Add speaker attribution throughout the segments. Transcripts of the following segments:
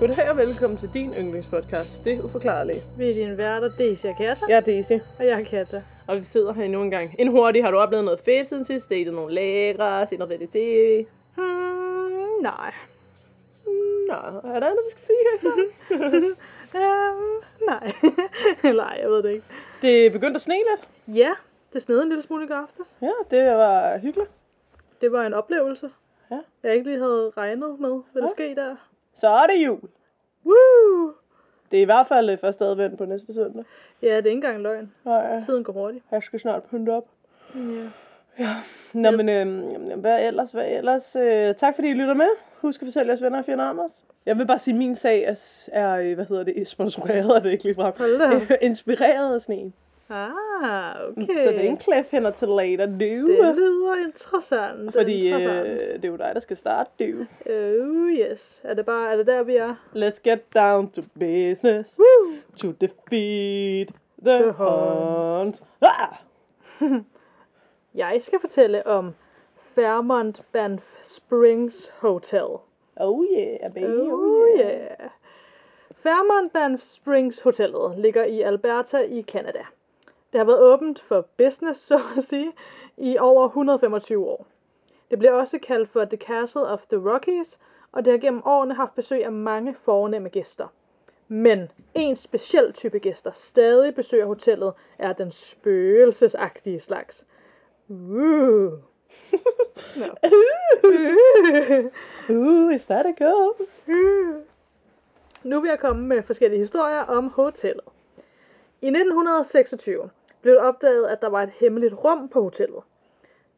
Speaker 1: Goddag og velkommen til din yndlingspodcast, Det Uforklarlige.
Speaker 2: Vi er dine værter, Daisy og Katta,
Speaker 1: Jeg er Daisy,
Speaker 2: og jeg er Katta.
Speaker 1: og vi sidder her endnu en gang. En hurtig, har du oplevet noget fedt siden sidst? Datet nogle lækre, set noget fedt i tv? Hmm,
Speaker 2: Hmm, nej.
Speaker 1: Nå, er der andet, vi skal sige efter?
Speaker 2: Um, nej. nej, jeg ved det ikke.
Speaker 1: det begyndte at sne lidt.
Speaker 2: Ja, det snede en lille smule i går aftes.
Speaker 1: Ja, det var hyggeligt.
Speaker 2: Det var en oplevelse.
Speaker 1: Ja.
Speaker 2: Jeg ikke lige havde regnet med, hvad der
Speaker 1: Ja.
Speaker 2: skete der.
Speaker 1: Så er det jul.
Speaker 2: Woo!
Speaker 1: Det er i hvert fald øh, første advent på næste søndag.
Speaker 2: Ja, det er ikke engang løgn.
Speaker 1: Nej,
Speaker 2: Tiden går hurtigt.
Speaker 1: jeg skal snart pynte op.
Speaker 2: Ja.
Speaker 1: Nå,
Speaker 2: Ja.
Speaker 1: men øhm, jamen, hvad ellers, hvad ellers? Øh, tak fordi I lytter med. Husk at fortælle jeres venner og fjender om os. Jeg vil bare sige, at min sag er, er øh, hvad hedder det, sponsoreret, er det ikke ligefrem.
Speaker 2: Hold da. op.
Speaker 1: Inspireret af sneen.
Speaker 2: Ah, okay.
Speaker 1: Okay. Mm, Så det er en cliffhanger til later,
Speaker 2: det
Speaker 1: du.
Speaker 2: lyder interessant.
Speaker 1: Fordi
Speaker 2: interessant.
Speaker 1: øh, det er jo dig, der skal starte, du.
Speaker 2: Øh, yes. Er det bare, er det der, vi er?
Speaker 1: Let's get down to business.
Speaker 2: Woo!
Speaker 1: To defeat the,
Speaker 2: The
Speaker 1: the
Speaker 2: Huns.
Speaker 1: Huns. Ah!
Speaker 2: Jeg skal fortælle om Fairmont Banff Springs Hotel.
Speaker 1: Oh yeah, baby.
Speaker 2: Oh yeah. Fairmont Banff Springs Hotellet ligger i Alberta i Canada. Det har været åbent for business, så at sige, i over 125 år. Det bliver også kaldt for The Castle of the Rockies, og det har gennem årene haft besøg af mange fornemme gæster. Men en speciel type gæster stadig besøger hotellet, er den spøgelsesagtige slags. Uh. Nå.
Speaker 1: Ooh, is that a ghost?
Speaker 2: Hmm. Nu vil jeg komme med forskellige historier om hotellet. I 1926 blev det opdaget, at der var et hemmeligt rum på hotellet.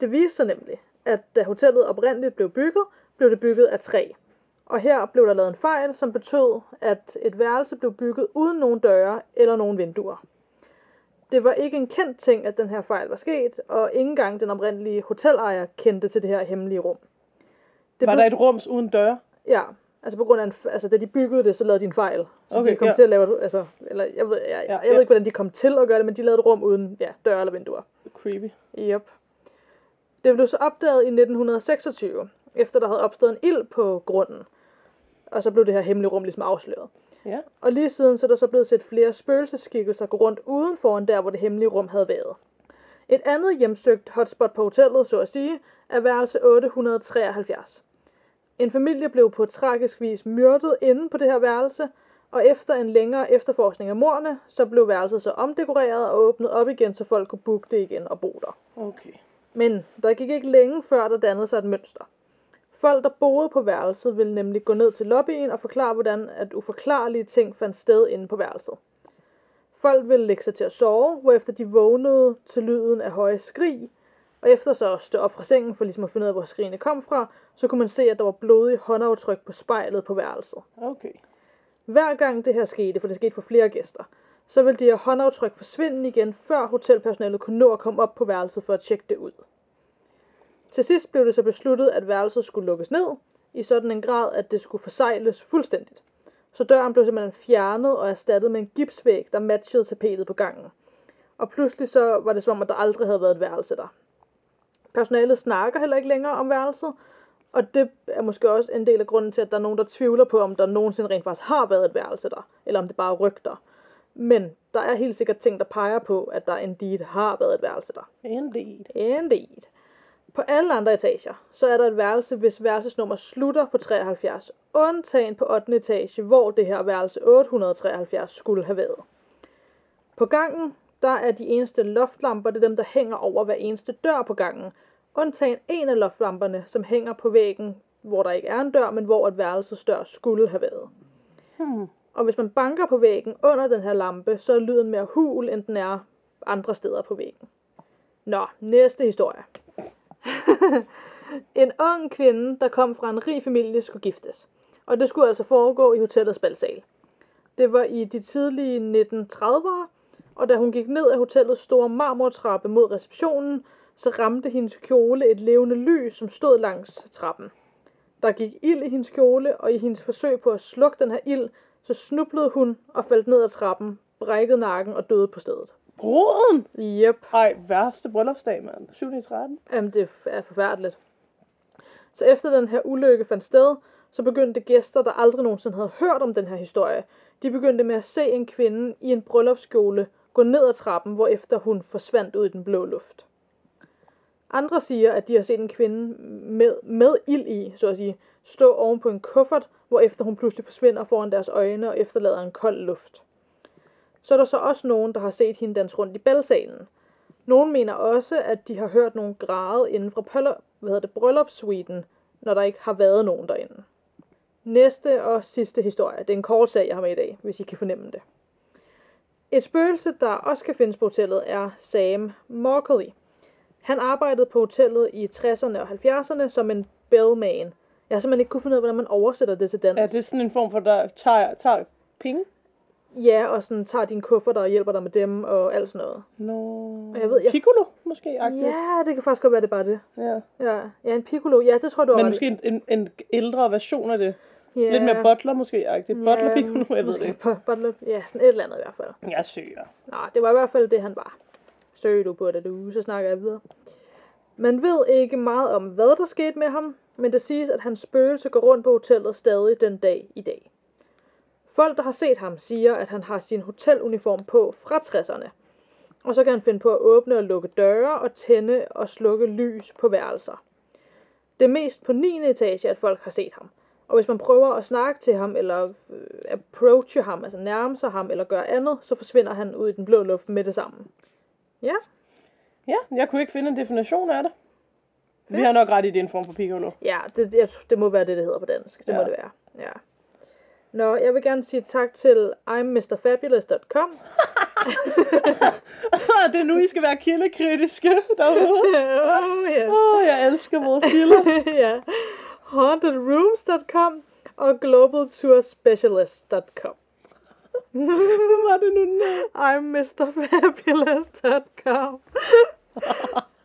Speaker 2: Det viste sig nemlig, at da hotellet oprindeligt blev bygget, blev det bygget af træ. Og her blev der lavet en fejl, som betød, at et værelse blev bygget uden nogen døre eller nogen vinduer. Det var ikke en kendt ting, at den her fejl var sket, og ikke engang den oprindelige hotelejer kendte til det her hemmelige rum.
Speaker 1: Det var
Speaker 2: blev-
Speaker 1: der et rums uden dør?
Speaker 2: Ja, altså på grund af, en, f- altså da de byggede det, så lavede de en fejl. Så okay,
Speaker 1: Okay,
Speaker 2: de kom ja.
Speaker 1: ja.
Speaker 2: til at lave, et- altså, eller jeg ved, jeg, jeg, jeg
Speaker 1: ja.
Speaker 2: ved ikke, hvordan de kom til at gøre det, men de lavede et rum uden ja, døre eller vinduer.
Speaker 1: Creepy.
Speaker 2: Yep. Det blev så opdaget i 1926, efter der havde opstået en ild på grunden. Og så blev det her hemmelige rum ligesom afsløret.
Speaker 1: Ja.
Speaker 2: Og lige siden så er der så blevet set flere spøgelseskikkelser gå rundt uden foran der, hvor det hemmelige rum havde været. Et andet hjemsøgt hotspot på hotellet, så at sige, er værelse 873. En familie blev på tragisk vis myrdet inde på det her værelse, og efter en længere efterforskning af mordene, så blev værelset så omdekoreret og åbnet op igen, så folk kunne booke det igen og bo der.
Speaker 1: Okay.
Speaker 2: Men der gik ikke længe før, der dannede sig et mønster. Folk, der boede på værelset, ville nemlig gå ned til lobbyen og forklare, hvordan at uforklarlige ting fandt sted inde på værelset. Folk ville lægge sig til at sove, hvorefter de vågnede til lyden af høje skrig, og efter så at stå op fra sengen for ligesom at finde ud af, hvor skrigene kom fra, så kunne man se, at der var blodige håndaftryk på spejlet på værelset.
Speaker 1: Okay.
Speaker 2: Hver gang det her skete, for det skete for flere gæster, så ville de her håndaftryk forsvinde igen, før hotelpersonalet kunne nå at komme op på værelset for at tjekke det ud. Til sidst blev det så besluttet, at værelset skulle lukkes ned, i sådan en grad, at det skulle forsejles fuldstændigt. Så døren blev simpelthen fjernet og erstattet med en gipsvæg, der matchede tapetet på gangen. Og pludselig så var det som om, at der aldrig havde været et værelse der. Personalet snakker heller ikke længere om værelset, og det er måske også en del af grunden til, at der er nogen, der tvivler på, om der nogensinde rent faktisk har været et værelse der, eller om det bare er rygter. Men der er helt sikkert ting, der peger på, at der indeed har været et værelse der.
Speaker 1: Indeed.
Speaker 2: Indeed. På alle andre etager, så er der et værelse, hvis værelsesnummer slutter på 73, undtagen på 8. etage, hvor det her værelse 873 skulle have været. På gangen, der er de eneste loftlamper, det er dem, der hænger over hver eneste dør på gangen, undtagen en af loftlamperne, som hænger på væggen, hvor der ikke er en dør, men hvor et værelses dør skulle have været.
Speaker 1: Hmm.
Speaker 2: Og hvis man banker på væggen under den her lampe, så er lyden mere hul, end den er andre steder på væggen. Nå, næste historie. en ung kvinde, der kom fra en rig familie, skulle giftes. Og det skulle altså foregå i hotellets balsal. Det var i de tidlige 1930'ere, og da hun gik ned af hotellets store marmortrappe mod receptionen, så ramte hendes kjole et levende lys, som stod langs trappen. Der gik ild i hendes kjole, og i hendes forsøg på at slukke den her ild, så snublede hun og faldt ned ad trappen, brækkede nakken og døde på stedet.
Speaker 1: Bruden!
Speaker 2: Jep.
Speaker 1: Ej, værste bryllupsdag, mand. 7. i 13.
Speaker 2: Jamen, det er forfærdeligt. Så efter den her ulykke fandt sted, så begyndte gæster, der aldrig nogensinde havde hørt om den her historie, de begyndte med at se en kvinde i en bryllupskjole gå ned ad trappen, hvorefter hun forsvandt ud i den blå luft. Andre siger, at de har set en kvinde med, med ild i, så at sige, stå oven på en kuffert, hvorefter hun pludselig forsvinder foran deres øjne og efterlader en kold luft. Så er der så også nogen, der har set hende danse rundt i balsalen. Nogle mener også, at de har hørt nogen græde inden fra pøller, hvad hedder det, bryllupssuiten, når der ikke har været nogen derinde. Næste og sidste historie. Det er en kort sag, jeg har med i dag, hvis I kan fornemme det. Et spøgelse, der også kan findes på hotellet, er Sam Morkley. Han arbejdede på hotellet i 60'erne og 70'erne som en bellman. Jeg har simpelthen ikke kunne finde ud af, hvordan man oversætter det til dansk.
Speaker 1: Er det sådan en form for, der tager, tager penge?
Speaker 2: Ja, og sådan tager din kufferter og hjælper dig med dem og alt sådan noget.
Speaker 1: Nå,
Speaker 2: Og jeg ved, jeg-
Speaker 1: Piccolo måske? Ja.
Speaker 2: Ja, det kan faktisk godt være, det er bare det.
Speaker 1: ja.
Speaker 2: Ja, ja en piccolo. Ja, det tror jeg, du har
Speaker 1: Men
Speaker 2: ret i.
Speaker 1: måske en, en, en ældre version af det.
Speaker 2: ja.
Speaker 1: Lidt mere butler måske, agtigt. Butler Piccolo, jeg ved det
Speaker 2: måske
Speaker 1: ikke.
Speaker 2: bu- Butler, ja, sådan et eller andet i hvert fald.
Speaker 1: Jeg søger.
Speaker 2: Nej, det var i hvert fald det, han var. Søg du på det, du, så snakker jeg videre. Man ved ikke meget om, hvad der skete med ham, men det siges, at hans spøgelse går rundt på hotellet stadig den dag i dag. Folk, der har set ham, siger, at han har sin hoteluniform på fra 60'erne. Og så kan han finde på at åbne og lukke døre og tænde og slukke lys på værelser. Det er mest på 9. etage, at folk har set ham. Og hvis man prøver at snakke til ham, eller øh, approache ham, altså nærme sig ham, eller gøre andet, så forsvinder han ud i den blå luft med det samme. Ja,
Speaker 1: Ja, jeg kunne ikke finde en definition af det. Vi har nok ret i, det er en form for Piccolo.
Speaker 2: ja det, jeg, tror- det må være det, det hedder på dansk. Det ja. må
Speaker 1: Ja.
Speaker 2: det være. Ja. Nå, jeg vil gerne sige tak til imrfabulous.com.
Speaker 1: det er nu, I skal være kildekritiske derude.
Speaker 2: oh, yes.
Speaker 1: Åh, oh, jeg elsker vores kilder.
Speaker 2: ja. hauntedrooms.com og globaltourspecialist.com.
Speaker 1: Hvad var det nu? den hed?
Speaker 2: I'm mrfabulous.com.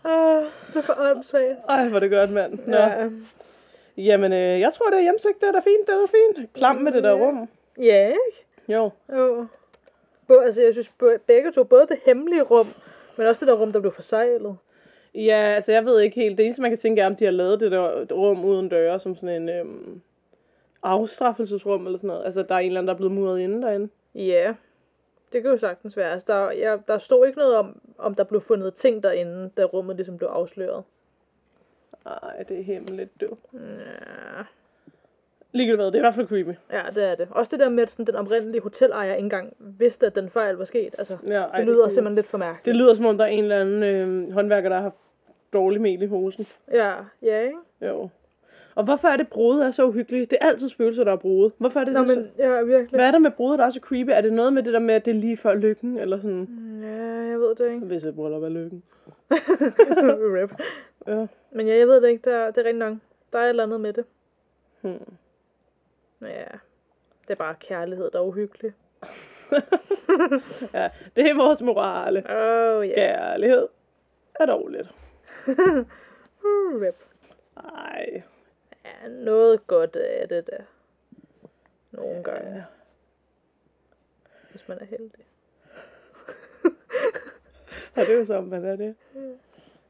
Speaker 2: uh, det er for åndssvagt.
Speaker 1: Ej, hvor er det godt, mand. Nå.
Speaker 2: Ja.
Speaker 1: Jamen, øh, jeg tror, det er hjemsøgt. Det er da fint, det er da fint. Klam med det der rum.
Speaker 2: Ja, ikke?
Speaker 1: Jo.
Speaker 2: Jo. Både, altså, jeg synes bo- begge to, både det hemmelige rum, men også det der rum, der blev forsejlet.
Speaker 1: Ja, altså jeg ved ikke helt. Det eneste, man kan tænke er, om de har lavet det der rum uden døre, som sådan en øhm, afstraffelsesrum eller sådan noget. Altså, der er en eller anden, der er blevet muret inde derinde.
Speaker 2: Ja, det kan jo sagtens være. Altså, der, ja, der stod ikke noget om, om der blev fundet ting derinde, da rummet ligesom blev afsløret.
Speaker 1: Ej, det er hemmeligt, du.
Speaker 2: Ja,
Speaker 1: Ligegyldigt hvad, det er i hvert fald creepy.
Speaker 2: ja det er det. Også det der med, at sådan, den oprindelige hotelejer ikke engang vidste, at den fejl var sket. Altså,
Speaker 1: Ja, ej,
Speaker 2: det lyder
Speaker 1: creepy.
Speaker 2: simpelthen lidt for mærkeligt.
Speaker 1: Det lyder, som om der er en eller anden øhm, håndværker, der har haft dårlig mel i hosen.
Speaker 2: Ja, ja, ikke?
Speaker 1: Jo. Og hvorfor er det brudet er så uhyggeligt? Det er altid spøgelser, der er brudet. Hvorfor er det,
Speaker 2: Nå,
Speaker 1: det så...
Speaker 2: men ja, virkelig.
Speaker 1: Hvad er der med brudet, der er så creepy? Er det noget med det der med, at det er lige før lykken? Eller sådan,
Speaker 2: Ja, jeg ved det ikke.
Speaker 1: hvis et bryllup er lykken.
Speaker 2: Rip.
Speaker 1: Ja.
Speaker 2: Men ja, jeg ved det ikke. Der, det er rigtig nok. Der er et eller andet med det.
Speaker 1: Hmm.
Speaker 2: Ja, det er bare kærlighed, der er uhyggelig.
Speaker 1: ja, det er vores morale.
Speaker 2: Oh, yes.
Speaker 1: Kærlighed er dårligt.
Speaker 2: Uh, Rip.
Speaker 1: Ej.
Speaker 2: Ja, noget godt er det da. Nogle gange.
Speaker 1: Ja.
Speaker 2: Hvis man er heldig.
Speaker 1: Og det er jo sådan, man er det.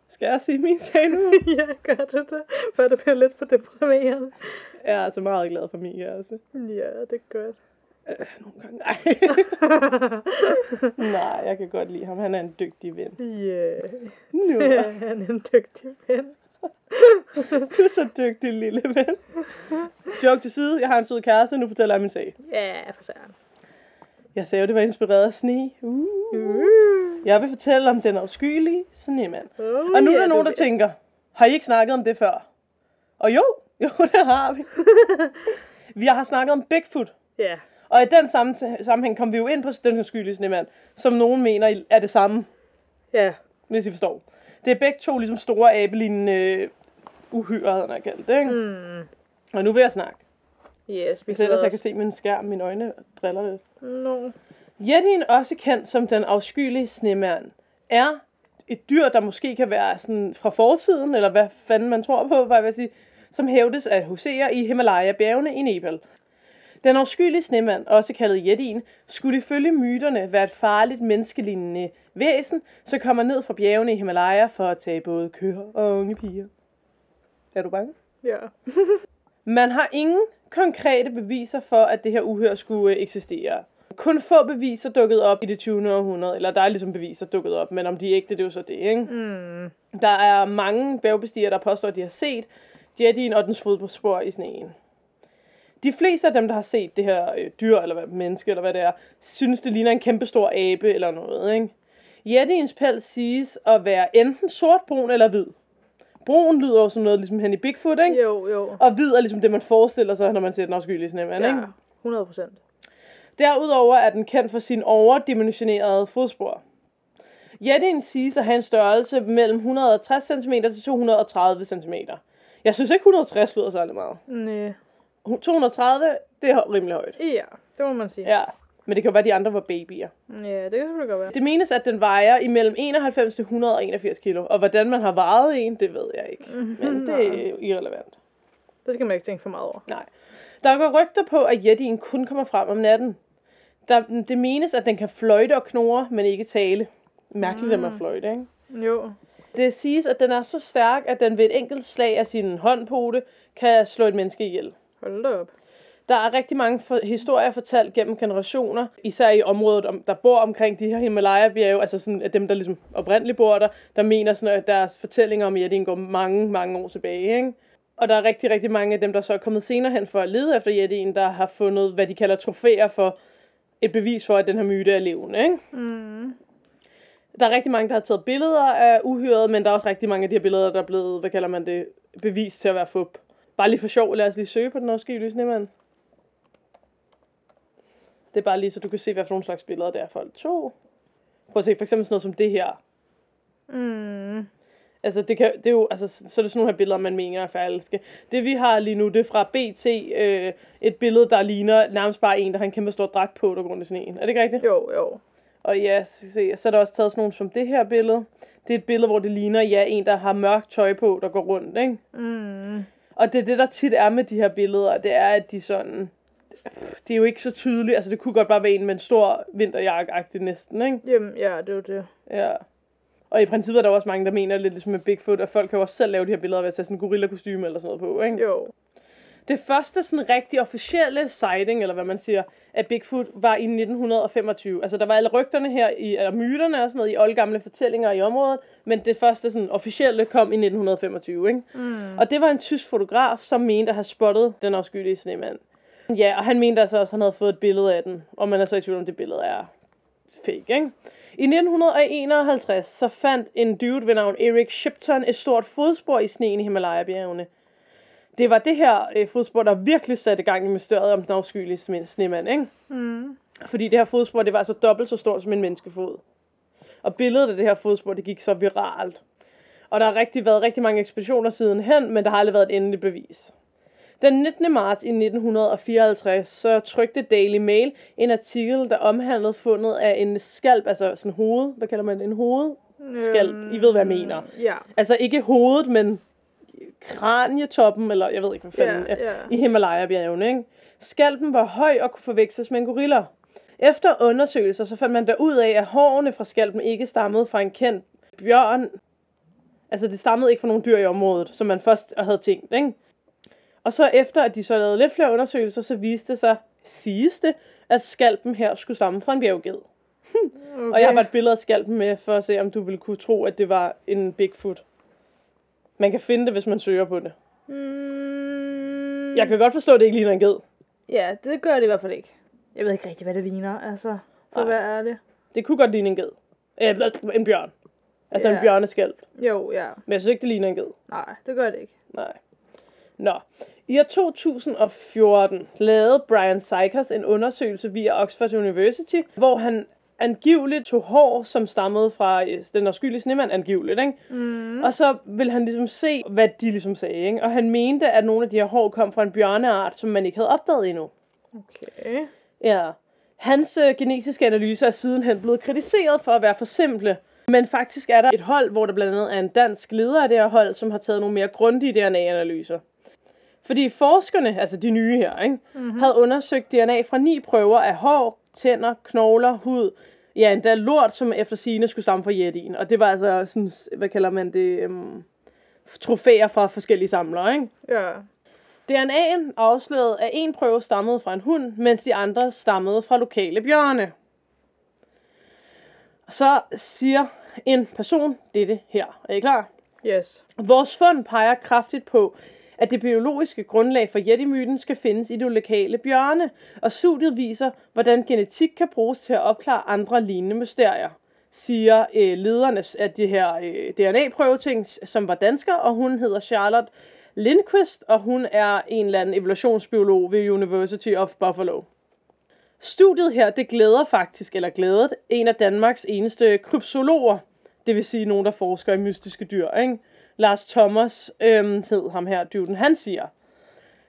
Speaker 1: Skal jeg sige min sag nu?
Speaker 2: ja, gør det da. For det bliver lidt for deprimerende.
Speaker 1: Jeg er altså meget glad for min kæreste.
Speaker 2: Ja, det er godt.
Speaker 1: Øh, nogle gange. Nej. Nej, jeg kan godt lide ham. Han er en dygtig ven.
Speaker 2: Ja,
Speaker 1: Nu.
Speaker 2: han er en dygtig ven.
Speaker 1: Du er så dygtig, lille ven. Joke til side. Jeg har en sød kæreste. Nu fortæller jeg min sag.
Speaker 2: Ja, for søren.
Speaker 1: Jeg sagde jo, det var inspireret af sne. Uh.
Speaker 2: Uh.
Speaker 1: Jeg vil fortælle om den afskyelige snemand.
Speaker 2: Oh,
Speaker 1: Og nu er
Speaker 2: ja,
Speaker 1: der nogen,
Speaker 2: du
Speaker 1: der
Speaker 2: ved.
Speaker 1: tænker, har I ikke snakket om det før? Og jo, jo, det har vi. vi har snakket om Bigfoot.
Speaker 2: Ja,
Speaker 1: Og i den samme sammenhæng kom vi jo ind på den skyldige snemand, som nogen mener er det samme,
Speaker 2: ja.
Speaker 1: hvis I forstår. Det er begge to ligesom store abelignende øh, uhyrer, havde jeg kaldt det, ikke? Mm.
Speaker 2: Mm.
Speaker 1: Og nu vil jeg snakke.
Speaker 2: Yes, vi
Speaker 1: Hvis Altså, ellers
Speaker 2: glæder
Speaker 1: jeg
Speaker 2: os.
Speaker 1: kan se min skærm, mine øjne driller lidt.
Speaker 2: Nå.
Speaker 1: Yettien, også kendt som den afskyelige snemand, er et dyr, der måske kan være sådan fra fortiden, eller hvad fanden man tror på, hvad jeg vil sige, som hævdes at husere i Himalaya-bjergene i Nepal. Den afskyelige snemand, også kaldet Yettien, skulle ifølge myterne være et farligt menneskelignende væsen, som kommer ned fra bjergene i Himalaya for at tage både køer og unge piger. Er du bange?
Speaker 2: Ja.
Speaker 1: Man har ingen konkrete beviser for, at det her uhør skulle øh, eksistere. Kun få beviser dukkede op i det 20. århundrede, eller der er ligesom beviser dukket op, men om de er ægte, det er jo så det, ikke?
Speaker 2: Mm.
Speaker 1: Der er mange bjergbestigere, der påstår, at de har set jettien og dens fodspor i sneen. De fleste af dem, der har set det her øh, dyr, eller hvad, menneske, eller hvad det er, synes, det ligner en kæmpestor abe eller noget, ikke? Yetiens pels siges at være enten sort, brun eller hvid. Brun lyder jo som noget ligesom hen i Bigfoot, ikke?
Speaker 2: Jo, jo.
Speaker 1: Og hvid er ligesom det, man forestiller sig, når man ser den afskyelige snemand,
Speaker 2: Ja,
Speaker 1: ikke?
Speaker 2: 100 procent.
Speaker 1: Derudover er den kendt for sine overdimensionerede fodspor. Jettien siges at have en størrelse mellem 160 cm til 230 cm. Jeg synes ikke 160 lyder særlig meget.
Speaker 2: Næh.
Speaker 1: 230, det er hø- rimelig højt.
Speaker 2: Ja, det må man sige.
Speaker 1: Ja, men det kan jo være, at de andre var babyer.
Speaker 2: ja det kan selvfølgelig godt være.
Speaker 1: Det menes, at den vejer imellem 91 til 181 kilo, og hvordan man har vejet en, det ved jeg ikke. Men det er irrelevant.
Speaker 2: Det skal man ikke tænke for meget over.
Speaker 1: Nej. Der går rygter på, at jettien kun kommer frem om natten. Der, det menes, at den kan fløjte og knore, men ikke tale. Mærkeligt, mm. at man fløjte, ikke?
Speaker 2: Jo.
Speaker 1: Det siges, at den er så stærk, at den ved et enkelt slag af sin håndpote kan slå et menneske ihjel.
Speaker 2: Hold da op.
Speaker 1: Der er rigtig mange for, historier fortalt gennem generationer, især i området, om, der bor omkring de her Himalaya-bjerge, altså sådan, at dem, der ligesom oprindeligt bor der, der mener sådan, at deres fortællinger om Yetin går mange, mange år tilbage, ikke? Og der er rigtig, rigtig mange af dem, der så er kommet senere hen for at lede efter Yetin, der har fundet, hvad de kalder trofæer for et bevis for, at den her myte er levende, ikke? Hmm.
Speaker 2: Mm.
Speaker 1: Der er rigtig mange, der har taget billeder af uhyret, men der er også rigtig mange af de her billeder, der er blevet, hvad kalder man det, bevis til at være fup. Bare lige for sjov, lad os lige søge på den afskyelige snemand. Det er bare lige, så du kan se, hvad for nogle slags billeder det er, folk tog. Prøv at se, for eksempel sådan noget som det her.
Speaker 2: Mm.
Speaker 1: Altså, det, kan, det er jo, altså, så er det sådan nogle her billeder, man mener er falske. Det vi har lige nu, det er fra BT, øh, et billede, der ligner nærmest bare en, der har en kæmpe stor dragt på, der går rundt i sneen. Er det ikke rigtigt?
Speaker 2: Jo, jo.
Speaker 1: Og ja, så, se, så er der også taget sådan nogle som det her billede. Det er et billede, hvor det ligner, ja, en, der har mørkt tøj på, der går rundt, ikke? Hmm.
Speaker 2: Mm.
Speaker 1: Og det er det, der tit er med de her billeder, det er, at de sådan... Det er jo ikke så tydeligt, altså det kunne godt bare være en med en stor vinterjakke næsten, ikke?
Speaker 2: Jamen, ja, det er jo det.
Speaker 1: Ja. Og i princippet er der jo også mange, der mener lidt ligesom med Bigfoot, at folk kan jo også selv lave de her billeder ved at tage sådan en gorilla-kostyme eller sådan noget på, ikke?
Speaker 2: Jo.
Speaker 1: Det første sådan rigtig officielle sighting, eller hvad man siger, af Bigfoot, var i 1925. Altså, der var alle rygterne her, i, eller myterne og sådan noget, i oldgamle fortællinger i området, men det første sådan officielle kom i 1925, ikke?
Speaker 2: Mm.
Speaker 1: Og det var en tysk fotograf, som mente at have spottet den afskyelige snemand. Ja, og han mente altså også, at han havde fået et billede af den, og man er så i tvivl om, det billede er fake, ikke? I 1951 så fandt en dude ved navn Erik Shipton et stort fodspor i sneen i Himalaya-bjergene. Det var det her øh, fodspor, der virkelig satte gang i mysteriet om den afskyelige sne- snemand, ikke?
Speaker 2: Mm.
Speaker 1: Fordi det her fodspor, det var altså dobbelt så stort som en menneskefod. Og billedet af det her fodspor, det gik så viralt. Og der har rigtig været rigtig mange ekspeditioner sidenhen, men der har aldrig været et endeligt bevis. Den 19. marts i 1954, så trykte Daily Mail en artikel, der omhandlede fundet af en skalp, altså sådan en hoved, hvad kalder man det, en hoved? Skalp, I ved, hvad jeg mener.
Speaker 2: Øhm, Ja.
Speaker 1: Altså ikke hovedet, men kranietoppen, eller jeg ved ikke, hvad fanden,
Speaker 2: Ja,
Speaker 1: ja,
Speaker 2: ja.
Speaker 1: ja. i Himalaya-bjergene, ikke? Skalpen var høj og kunne forveksles med en gorilla. Efter undersøgelser, så fandt man der ud af, at hårene fra skalpen ikke stammede fra en kendt bjørn. Altså, det stammede ikke fra nogen dyr i området, som man først havde tænkt, ikke? Og så efter, at de så lavede lidt flere undersøgelser, så viste det sig, siges det, at skalpen her skulle stamme fra en bjergged.
Speaker 2: Okay.
Speaker 1: Og jeg har bare et billede af skalpen med, for at se, om du ville kunne tro, at det var en Bigfoot. Man kan finde det, hvis man søger på det.
Speaker 2: Mm.
Speaker 1: Jeg kan godt forstå, at det ikke ligner en ged.
Speaker 2: Ja, det gør det i hvert fald ikke. Jeg ved ikke rigtig, hvad det ligner, altså.
Speaker 1: Nej.
Speaker 2: For at være ærlig. det?
Speaker 1: Det kunne godt ligne en ged. Eh, blæk, en bjørn. Altså yeah.
Speaker 2: Ja.
Speaker 1: en bjørneskalp.
Speaker 2: Jo, ja.
Speaker 1: Men jeg synes ikke, det ligner en ged.
Speaker 2: Nej, det gør det ikke.
Speaker 1: Nej. Nå. I år 2014 lavede Brian Sykers en undersøgelse via Oxford University, hvor han angiveligt tog hår, som stammede fra øh, den afskyelige snemand angiveligt, ikke?
Speaker 2: Mm.
Speaker 1: Og så ville han ligesom se, hvad de ligesom sagde, ikke? Og han mente, at nogle af de her hår kom fra en bjørneart, som man ikke havde opdaget endnu.
Speaker 2: Okay.
Speaker 1: Ja. Hans øh, genetiske analyser er sidenhen blevet kritiseret for at være for simple. Men faktisk er der et hold, hvor der blandt andet er en dansk leder af det her hold, som har taget nogle mere grundige DNA-analyser. Fordi forskerne, altså de nye her, ikke, mm-hmm. havde undersøgt DNA fra ni prøver af hår, tænder, knogler, hud, ja endda lort, som efter sine skulle stamme fra jettien. Og det var altså sådan, hvad kalder man det, øhm, trofæer fra forskellige samlere, ikke?
Speaker 2: Ja.
Speaker 1: DNA'en afslørede, at en prøve stammede fra en hund, mens de andre stammede fra lokale bjørne. Så siger en person dette her. Er I klar?
Speaker 2: Yes.
Speaker 1: Vores fund peger kraftigt på, at det biologiske grundlag for jættemyten skal findes i de lokale bjørne, og studiet viser, hvordan genetik kan bruges til at opklare andre lignende mysterier, siger øh, lederne af de her øh, DNA-prøveting, som var dansker, og hun hedder Charlotte Lindquist, og hun er en eller anden evolutionsbiolog ved University of Buffalo. Studiet her, det glæder faktisk, eller glædet, en af Danmarks eneste krypsologer, det vil sige nogen, der forsker i mystiske dyr, ikke? Lars Thomas øhm, hed ham her, dyvden, han siger,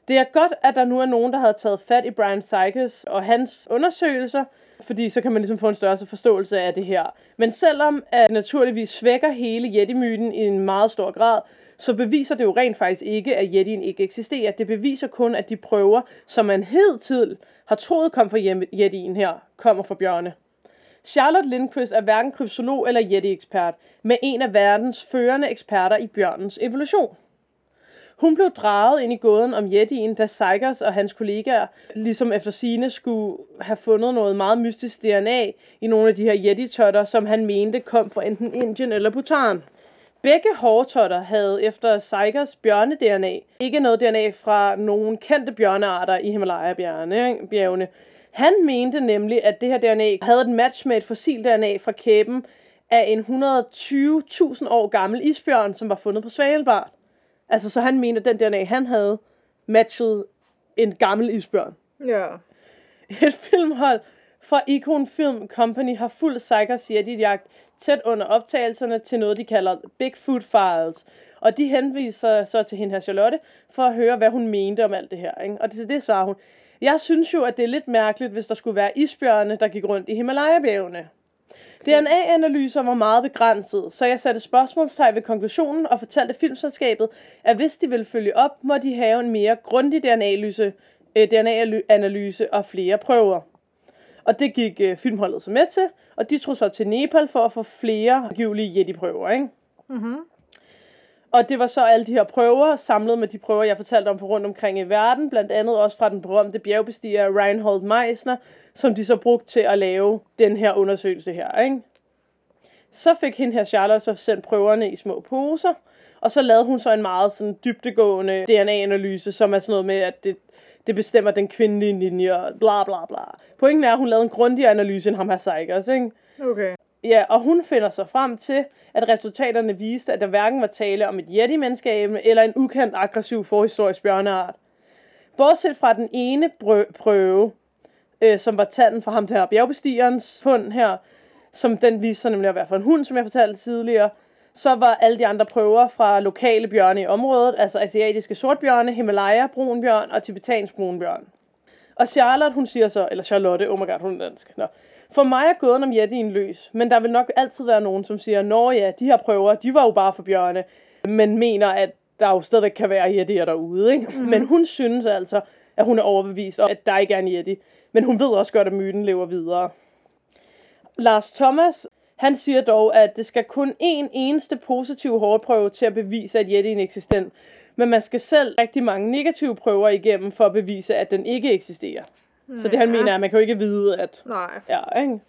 Speaker 1: det er godt, at der nu er nogen, der havde taget fat i Brian Sykes og hans undersøgelser, fordi så kan man ligesom få en større forståelse af det her. Men selvom at det naturligvis svækker hele Yeti-myten i en meget stor grad, så beviser det jo rent faktisk ikke, at Yetien ikke eksisterer. Det beviser kun, at de prøver, som man hidtil har troet kom fra Yem- Yetien her, kommer fra bjørne. Charlotte Lindquist er hverken krypsolog eller yeti-ekspert, men en af verdens førende eksperter i bjørnens evolution. Hun blev draget ind i gåden om Yettien, da Seikers og hans kollegaer ligesom efter sine skulle have fundet noget meget mystisk DNA i nogle af de her Yeti-totter, som han mente kom fra enten Indien eller Bhutan. Begge hårtotter havde efter Seikers bjørne-DNA ikke noget DNA fra nogen kendte bjørnearter i Himalaya-bjergene. Han mente nemlig, at det her DNA havde et match med et fossil DNA fra kæben af en 120.000 år gammel isbjørn, som var fundet på Svalbard. Altså, så han mente, at den DNA, han havde, matchede en gammel isbjørn.
Speaker 2: Ja.
Speaker 1: Et filmhold fra Icon Film Company har fuldt Seikers jagt tæt under optagelserne til noget, de kalder Bigfoot Files. Og de henviser så til hende her Charlotte, for at høre, hvad hun mente om alt det her. Ikke? Og til det svarer hun, jeg synes jo, at det er lidt mærkeligt, hvis der skulle være isbjørne, der gik rundt i Himalaya-bjergene. DNA-analyser var meget begrænset, så jeg satte spørgsmålstegn ved konklusionen og fortalte filmselskabet, at hvis de ville følge op, må de have en mere grundig DNA-analyse, øh, DNA-analyse og flere prøver. Og det gik øh, filmholdet så med til, og de tog så til Nepal for at få flere angivelige Yeti-prøver, ikke?
Speaker 2: Mhm.
Speaker 1: Og det var så alle de her prøver, samlet med de prøver, jeg fortalte om fra rundt omkring i verden, blandt andet også fra den berømte bjergbestiger Reinhold Meisner, som de så brugte til at lave den her undersøgelse her, ikke? Så fik hende her Charlotte så sendt prøverne i små poser, og så lavede hun så en meget sådan dybtegående DNA-analyse, som er sådan noget med, at det, det bestemmer den kvindelige linje, og bla bla bla. Pointen er, at hun lavede en grundigere analyse, end ham her Seikers, ikke?
Speaker 2: Okay.
Speaker 1: Ja, og hun finder så frem til, at resultaterne viste, at der hverken var tale om et yeti-mandskab eller en ukendt aggressiv forhistorisk bjørneart. Bortset fra den ene brø- prøve, øh, som var tanden fra ham der bjergbestigerens hund her, som den viste sig nemlig at være for en hund, som jeg fortalte tidligere, så var alle de andre prøver fra lokale bjørne i området, altså asiatiske sortbjørne, Himalaya, brunbjørn og tibetansk brunbjørn. Og Charlotte, hun siger så, eller Charlotte, oh my god, hun er dansk. Nå. For mig er gåden om Jettien løs, men der vil nok altid være nogen, som siger, Nå ja, de her prøver, de var jo bare for bjørne, men mener, at der jo stadigvæk kan være Jettier derude. Ikke? Mm. Men hun synes altså, at hun er overbevist om, at der ikke er en Yeti. Men hun ved også godt, at myten lever videre. Lars Thomas, han siger dog, at det skal kun en eneste positiv hårdprøve til at bevise, at Yeti er eksistent. Men man skal selv rigtig mange negative prøver igennem for at bevise, at den ikke eksisterer. Så det han mener er, at man kan jo ikke vide, at
Speaker 2: Nej.
Speaker 1: Ja, ikke?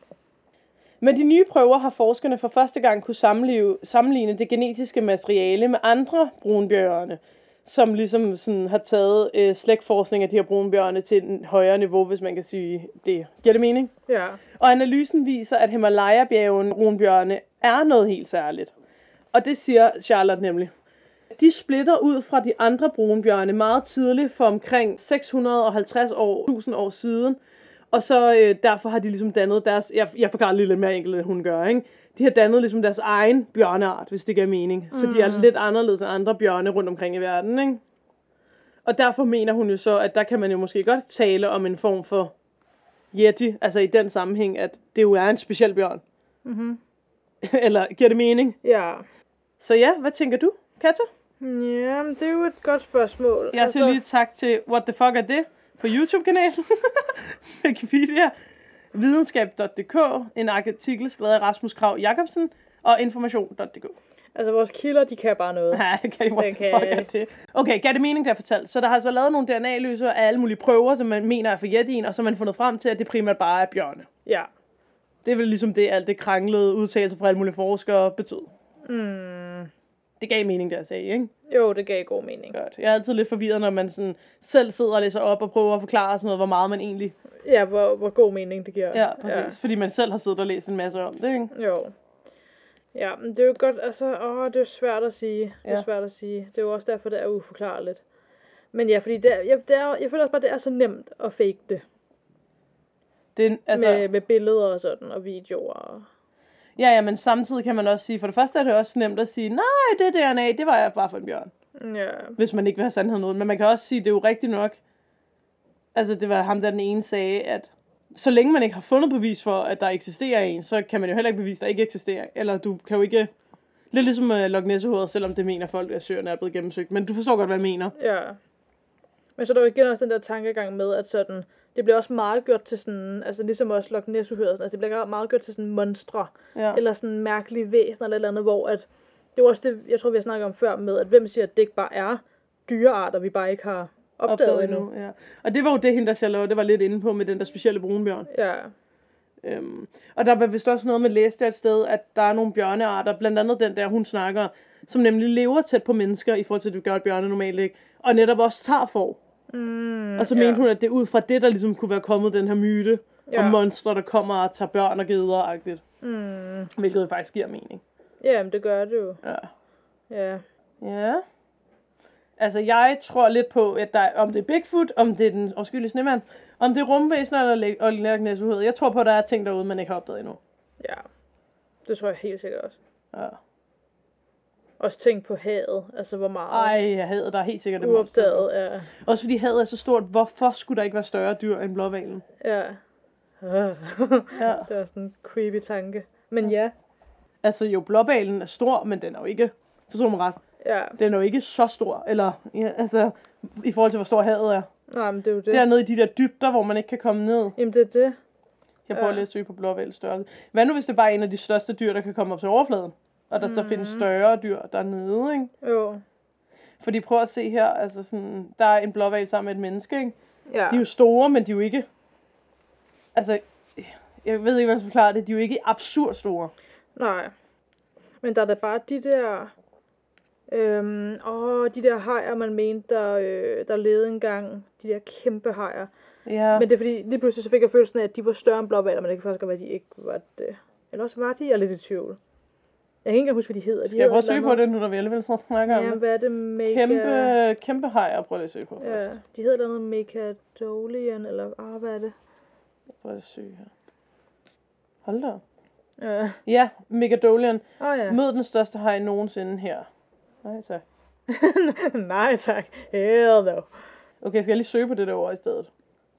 Speaker 1: Med de nye prøver har forskerne for første gang kunne sammenligne, sammenligne det genetiske materiale med andre brunbjørne, som ligesom sådan har taget øh, slægtforskning af de her brunbjørne til en højere niveau, hvis man kan sige det. Giver det mening?
Speaker 2: Ja.
Speaker 1: Og analysen viser, at Himalaya-bjergen brunbjørne er noget helt særligt. Og det siger Charlotte nemlig. De splitter ud fra de andre brunbjørne meget tidligt for omkring 650 år, 1000 år siden. Og så øh, derfor har de ligesom dannet deres, jeg, jeg forklarer det lidt mere enkelt, end hun gør, ikke? De har dannet ligesom deres egen bjørneart, hvis det giver mening. Så de er lidt anderledes end andre bjørne rundt omkring i verden, ikke? Og derfor mener hun jo så, at der kan man jo måske godt tale om en form for Yeti, altså i den sammenhæng, at det jo er en speciel bjørn.
Speaker 2: Mhm.
Speaker 1: Eller giver det mening?
Speaker 2: Ja.
Speaker 1: Så ja, hvad tænker du, Katja?
Speaker 2: Ja, men det er jo et godt spørgsmål. Altså,
Speaker 1: Jeg siger lige tak til What the fuck er det på YouTube-kanalen. Wikipedia, videnskab.dk, en artikel skrevet af Rasmus Krav Jacobsen og information.dk.
Speaker 2: Altså, vores kilder, de kan bare noget.
Speaker 1: Nej, det kan de. What
Speaker 2: Det
Speaker 1: the
Speaker 2: kan-
Speaker 1: fuck er det? Okay, gav det mening, der jeg fortalte. Så der har altså lavet nogle DNA-løser af alle mulige prøver, som man mener er for jettien, og så har man fundet frem til, at det primært bare er bjørne.
Speaker 2: Ja.
Speaker 1: Det er vel ligesom det, alt det kranglede udtalelser fra alle mulige forskere betød.
Speaker 2: Mm.
Speaker 1: Det gav mening, det jeg sagde, ikke?
Speaker 2: Jo, det gav god mening.
Speaker 1: Godt. Jeg er altid lidt forvirret, når man sådan selv sidder og læser op og prøver at forklare sådan noget, hvor meget man egentlig...
Speaker 2: Ja, hvor, hvor god mening det giver.
Speaker 1: Ja, præcis. Ja. Fordi man selv har siddet og læst en masse om det, ikke?
Speaker 2: Ja. Jo. Ja, men det er jo godt, altså, åh, det er jo svært at sige. Det er
Speaker 1: Ja.
Speaker 2: ja. svært at sige. Det er jo også derfor, det er uforklarligt. Men ja, fordi det er, jeg, det er, jeg føler også bare, det er så nemt at fake det.
Speaker 1: Det, er- altså,
Speaker 2: Altså, med, med billeder og sådan, og videoer. Og...
Speaker 1: Ja, ja, men samtidig kan man også sige, for det første er det også nemt at sige, nej, det DNA, det var jeg bare for en bjørn.
Speaker 2: Ja.
Speaker 1: hvis man ikke vil have sandheden ud. Men man kan også sige, det er jo rigtigt nok. Altså, det var ham, der den ene sagde, at så længe man ikke har fundet bevis for, at der eksisterer en, så kan man jo heller ikke bevise, at der ikke eksisterer. Eller du kan jo ikke... Lidt ligesom uh, Loch Nessehovedet, selvom det mener folk, at søerne er blevet gennemsøgt. Men du forstår godt, hvad jeg mener.
Speaker 2: Ja. Men så er der jo igen også den der tankegang med, at sådan, det bliver også meget gjort til sådan, altså ligesom også Loch ness altså det bliver meget gjort til sådan monstre,
Speaker 1: Ja.
Speaker 2: eller sådan mærkelige væsener eller et eller andet, hvor at, det var også det, jeg tror, vi har snakket om før med, at hvem siger, at det ikke bare er dyrearter, vi bare ikke har opdaget,
Speaker 1: opdaget
Speaker 2: endnu.
Speaker 1: endnu. Ja. Og det var jo det, hende der Charlotte var lidt inde på med den der specielle brunbjørn.
Speaker 2: Ja,
Speaker 1: Øhm, og der var vist også noget med, læste jeg et sted, at der er nogle bjørnearter, blandt andet den der, hun snakker, som nemlig lever tæt på mennesker, i forhold til, at det gør et bjørne normalt ikke, og netop også tager for.
Speaker 2: mm,
Speaker 1: Og så
Speaker 2: ja.
Speaker 1: mente hun, at det er ud fra det, der ligesom kunne være kommet den her myte ja. om monstre, der kommer og tager børn og geder-agtigt.
Speaker 2: mm,
Speaker 1: Hvilket jo faktisk giver mening.
Speaker 2: ja, men det gør det jo.
Speaker 1: Ja.
Speaker 2: Ja.
Speaker 1: ja. Altså, jeg tror lidt på, at der, om det er Bigfoot, om det er den afskyelige snemand, om det er rumvæsener eller læ- og lærknæsuhed. Jeg tror på, at der er ting derude, man ikke har opdaget endnu.
Speaker 2: ja, det tror jeg helt sikkert også.
Speaker 1: Ja.
Speaker 2: Også tænk på havet, altså hvor meget
Speaker 1: Ej, jeg hader der er helt sikkert et monster.
Speaker 2: uopdaget er.
Speaker 1: Også fordi havet er så stort, hvorfor skulle der ikke være større dyr end blåvalen?
Speaker 2: Ja.
Speaker 1: Ja.
Speaker 2: det var sådan en creepy tanke. Men ja,
Speaker 1: Altså jo, blåvalen er stor, men den er jo ikke, forstår du mig ret,
Speaker 2: ja.
Speaker 1: den er jo ikke så stor, eller ja, altså, i forhold til, hvor stor havet er.
Speaker 2: Nej, men det er jo det.
Speaker 1: Det er nede i de der dybder, hvor man ikke kan komme ned.
Speaker 2: Jamen det er det.
Speaker 1: Jeg prøver
Speaker 2: Ja.
Speaker 1: lige at søge på blåvælds størrelse. Hvad nu, hvis det bare er en af de største dyr, der kan komme op til overfladen? Og der mm. så
Speaker 2: Mhm.
Speaker 1: findes større dyr dernede, ikke?
Speaker 2: Jo.
Speaker 1: Fordi prøv at se her, altså sådan, der er en blåval sammen med et menneske, ikke?
Speaker 2: Ja.
Speaker 1: De er jo store, men de er jo ikke... Altså, jeg ved ikke, hvordan jeg skal forklare det. De er jo ikke absurd store.
Speaker 2: Nej. Men der er da bare de der... Øhm, åh, de der hajer, man mente, der, øh, der levede engang. De der kæmpe hajer.
Speaker 1: Ja. Men
Speaker 2: Men det er fordi, lige pludselig så fik jeg følelsen af, at de var større end blåvaler, men det kan faktisk godt være, at de ikke var det. Eller også var de, jeg er lidt i tvivl. Jeg kan ikke engang huske, hvad de hedder. De
Speaker 1: skal jeg prøve at
Speaker 2: hedder et
Speaker 1: søge
Speaker 2: eller
Speaker 1: på
Speaker 2: andet-
Speaker 1: det, nu når vi alligevel snakker om
Speaker 2: Ja,
Speaker 1: det?
Speaker 2: hvad er det? Mega...
Speaker 1: Kæmpe, kæmpe hajer, prøv lige at søge på
Speaker 2: Ja,
Speaker 1: først.
Speaker 2: Øh, de hedder et eller andet Mecadolian, eller ah, hvad er det?
Speaker 1: Prøv lige at søge her. Hold da. op.
Speaker 2: Ja.
Speaker 1: Ja, Megadolian.
Speaker 2: Øh. Åh oh, ja.
Speaker 1: Mød den største haj nogensinde her. Nej, tak.
Speaker 2: Nej tak. Hell no.
Speaker 1: Okay, skal jeg lige søge på det der ord i stedet?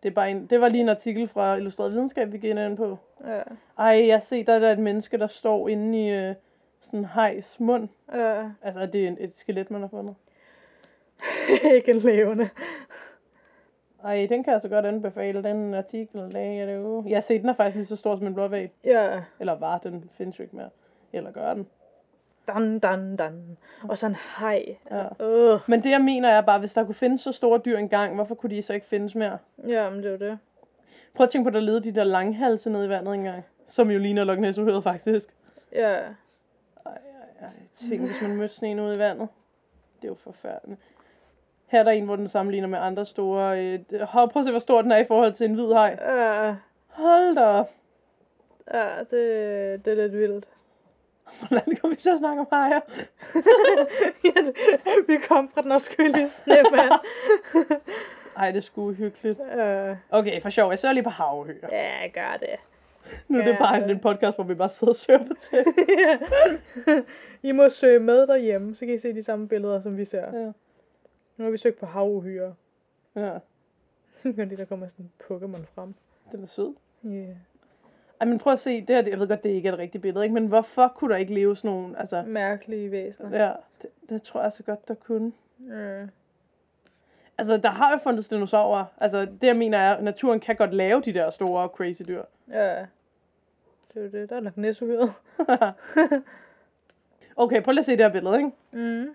Speaker 1: Det, er bare en, det var lige en artikel fra Illustreret Videnskab, vi gik ind på.
Speaker 2: Ja.
Speaker 1: Ej, jeg ser, der er der et menneske, der står inde i øh, sådan en hejs mund.
Speaker 2: Ja.
Speaker 1: Altså, er det er et skelet, man har fundet.
Speaker 2: ikke en levende.
Speaker 1: Ej, den kan jeg så godt anbefale, den artikel. Lagde det jo. Jeg ser, den er faktisk lige så stor som en blåval.
Speaker 2: Ja.
Speaker 1: Eller var, den findes jo ikke mere. Eller gør den.
Speaker 2: Dan, dan, dan. Og så en hej.
Speaker 1: Ja.
Speaker 2: Øh.
Speaker 1: Men det, jeg mener, er bare, hvis der kunne findes så store dyr engang, hvorfor kunne de så ikke findes mere?
Speaker 2: Ja, men det var det.
Speaker 1: Prøv at tænke på, at der levede de der langhalse nede i vandet engang. Som jo ligner Loch Ness uhyret, faktisk.
Speaker 2: Ja.
Speaker 1: Ej, tænk, hvis man mødte sådan en ude i vandet. Det er jo forfærdeligt. Her er der en, hvor den sammenligner med andre store... Øh, d- hov, prøv at se, hvor stor den er i forhold til en hvid haj.
Speaker 2: Ja.
Speaker 1: Hold da op.
Speaker 2: Ja, det, det er lidt vildt.
Speaker 1: Hvordan kommer vi til at snakke om hajer?
Speaker 2: Ja, det- Vi kom fra den afskyelige snemand.
Speaker 1: Ej, det skulle hyggeligt.
Speaker 2: ja.
Speaker 1: Okay, for sjov. Jeg søger lige på havøer.
Speaker 2: ja, gør det.
Speaker 1: Nu er det
Speaker 2: Ja,
Speaker 1: bare
Speaker 2: det-
Speaker 1: en, en podcast, hvor vi bare sidder og søger på ting.
Speaker 2: I må søge med derhjemme, så kan I se de samme billeder, som vi ser.
Speaker 1: Ja.
Speaker 2: Nu har vi søgt på havuhyre.
Speaker 1: ja.
Speaker 2: Så kan lige, der kommer sådan en Pokémon frem.
Speaker 1: Den er sød.
Speaker 2: Yeah.
Speaker 1: Ej, men prøv at se. Det her, det- jeg ved godt, det ikke er et rigtigt billede, ikke? Men hvorfor kunne der ikke leve sådan nogle... Altså,
Speaker 2: Mærkelige væsener.
Speaker 1: ja, det, det tror jeg så godt, der kunne.
Speaker 2: Ja.
Speaker 1: Altså, der har jo fundet dinosaurer. Altså, det jeg mener er, at naturen kan godt lave de der store crazy dyr.
Speaker 2: ja. Det er jo det, der er nok næsuhyret.
Speaker 1: Okay, prøv lige at se det her billede, ikke?
Speaker 2: Mm.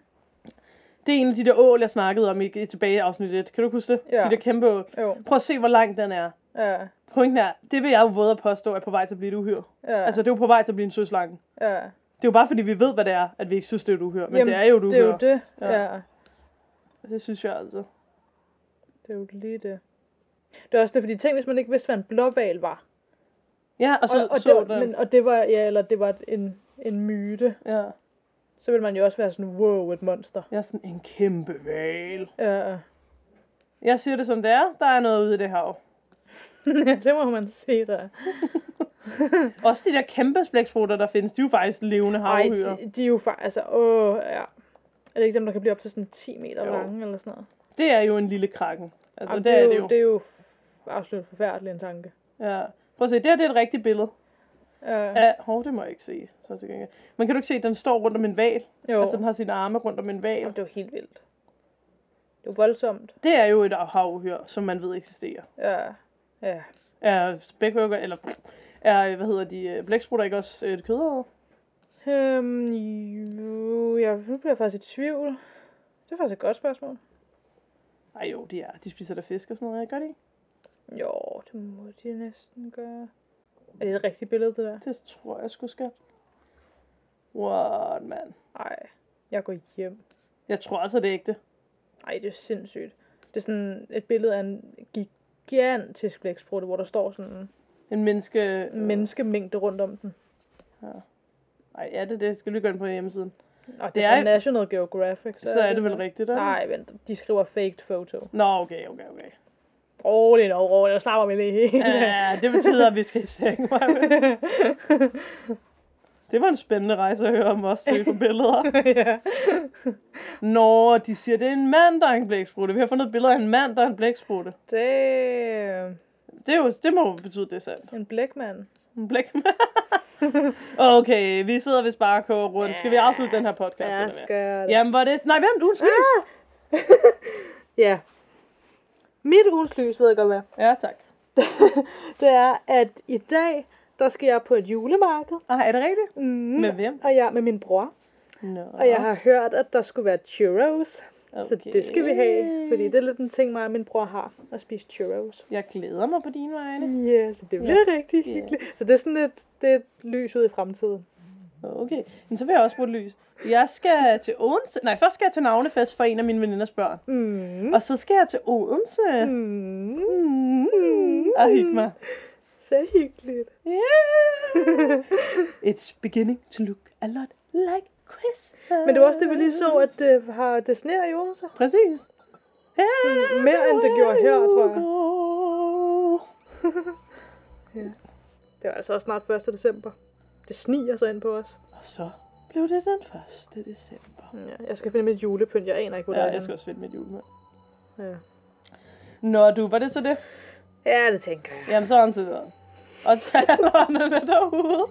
Speaker 1: Det er en af de der ål, jeg snakkede om i, i tilbage i afsnit 1. Kan du huske det?
Speaker 2: Ja.
Speaker 1: De der kæmpe ål.
Speaker 2: Jo.
Speaker 1: Prøv at se, hvor lang den er.
Speaker 2: Ja.
Speaker 1: Pointen er, det vil jeg jo våde at påstå, er på vej til at blive et uhyr.
Speaker 2: Ja.
Speaker 1: Altså, det er jo på vej til at blive en søslange.
Speaker 2: ja.
Speaker 1: Det er jo bare, fordi vi ved, hvad det er, at vi ikke synes, det er et uhyr. Men det er jo et uhyr.
Speaker 2: Det er jo det.
Speaker 1: Ja.
Speaker 2: Ja. ja.
Speaker 1: det. det synes jeg altså.
Speaker 2: Det er jo lige det. Det er også det, fordi tænk, hvis man ikke vidste, hvad en blåval var.
Speaker 1: Ja, og så
Speaker 2: og, og,
Speaker 1: så
Speaker 2: det, var-
Speaker 1: den.
Speaker 2: men, og det var, ja, eller det var en, en myte.
Speaker 1: Ja.
Speaker 2: Så ville man jo også være sådan, wow, et monster.
Speaker 1: Jeg er sådan en kæmpe val.
Speaker 2: Ja.
Speaker 1: Jeg siger det, som det er. Der er noget ude i det hav.
Speaker 2: det må man se der.
Speaker 1: Også de der kæmpe splæksprutter, der findes, de er jo faktisk levende
Speaker 2: Ej,
Speaker 1: havhyrer.
Speaker 2: de, de, er jo faktisk, altså, åh, ja. Er det ikke dem, der kan blive op til sådan 10 meter
Speaker 1: Jo.
Speaker 2: lange eller sådan noget?
Speaker 1: Det er jo en lille krakken. Altså,
Speaker 2: Jamen,
Speaker 1: det, er det jo.
Speaker 2: Det er jo absolut forfærdelig en tanke.
Speaker 1: Ja. Prøv at se, det her det er et rigtigt billede.
Speaker 2: Ja,
Speaker 1: Ja, hov, det må jeg ikke se. Så til gengæld. Men kan du ikke se, at den står rundt om en val?
Speaker 2: jo.
Speaker 1: Altså, den har sine arme rundt om en val.
Speaker 2: Jamen, det var helt vildt. Det var voldsomt.
Speaker 1: Det er jo et havuhyr, som man ved eksisterer.
Speaker 2: Ja, ja.
Speaker 1: Er spækhugger, eller er, hvad hedder de, øh, blæksprutter ikke også et kødæde?
Speaker 2: Øhm, jo, jeg, nu bliver jeg faktisk i tvivl. Det er faktisk et godt spørgsmål.
Speaker 1: Ej jo, de er. De spiser da fisk og sådan noget, ikke? gør de? ikke?
Speaker 2: Jo, det må de næsten gøre. Er det et rigtigt billede, det der?
Speaker 1: Det tror jeg sgu skal. What, man.
Speaker 2: Nej, jeg går hjem.
Speaker 1: Jeg tror altså, det er ægte.
Speaker 2: Nej, det er sindssygt. Det er sådan et billede af en gigantisk blæksprutte, hvor der står sådan en
Speaker 1: En menneske...
Speaker 2: menneskemængde rundt om den.
Speaker 1: Ej, er det det? Skal du gå ind på hjemmesiden?
Speaker 2: Og
Speaker 1: Det
Speaker 2: det
Speaker 1: er
Speaker 2: er fra
Speaker 1: jo-
Speaker 2: National Geographic.
Speaker 1: Så, så er det vel rigtigt, eller?
Speaker 2: Nej, vent. De skriver faked photo.
Speaker 1: Nå, okay, okay, okay.
Speaker 2: Rolig nu, rolig. Nu slapper vi lige helt.
Speaker 1: Ja, det betyder, at vi skal i seng. Maja. Det var en spændende rejse at høre om os se på billeder.
Speaker 2: ja.
Speaker 1: Nå, de siger, det er en mand, der er en blæksprutte. Vi har fundet et billede af en mand, der er en blæksprutte.
Speaker 2: Damn.
Speaker 1: Det, er jo, det må jo betyde, det er sandt.
Speaker 2: En blækmand.
Speaker 1: En blækmand. okay, vi sidder vist bare og koger rundt. Skal vi afslutte den her podcast?
Speaker 2: Ja,
Speaker 1: eller hvad?
Speaker 2: skal Ah. ja.
Speaker 1: Jamen, var det... Nej, vent, ugens lys.
Speaker 2: ja. Mit ugens lys, ved jeg godt hvad,
Speaker 1: Ja, tak.
Speaker 2: det er, at i dag, der skal jeg på et julemarked.
Speaker 1: Ah, er det rigtigt?
Speaker 2: Mm.
Speaker 1: Med hvem?
Speaker 2: Og jeg er med min bror.
Speaker 1: Nå.
Speaker 2: Og jeg har hørt, at der skulle være churros. Okay. Så det skal vi have, fordi det er lidt en ting, mig og min bror har, at spise churros.
Speaker 1: Jeg glæder mig på dine vegne.
Speaker 2: Ja, yes, så det bliver
Speaker 1: Yes.
Speaker 2: yes. rigtig
Speaker 1: Ja.
Speaker 2: hyggeligt. Så det er sådan et, det er et lys ud i fremtiden.
Speaker 1: Okay, men så vil jeg også bruge lys. Jeg skal til Odense. Nej, først skal jeg til navnefest for en af mine veninders børn.
Speaker 2: Mm.
Speaker 1: Og så skal jeg til Odense. Mm.
Speaker 2: Mm.
Speaker 1: Mm. Og hygge mig.
Speaker 2: Så hyggeligt.
Speaker 1: Yeah. It's beginning to look a lot like Christmas.
Speaker 2: Men det var også det, vi lige så, at øh, det, har, det sneer i Odense.
Speaker 1: Præcis.
Speaker 2: Mm, mere end det gjorde her, tror jeg. Det var altså også snart 1. december. Det sniger så ind på os.
Speaker 1: Og så blev det den 1. december.
Speaker 2: Ja, jeg skal finde mit julepynt. Jeg aner ikke, hvor
Speaker 1: Ja,
Speaker 2: det er.
Speaker 1: jeg skal også finde mit julemad.
Speaker 2: henne. ja.
Speaker 1: Nå, du, var det så det?
Speaker 2: ja, det tænker jeg.
Speaker 1: Jamen, så er han til videre. Og tag hånderne derude.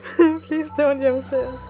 Speaker 2: Please don't hjemme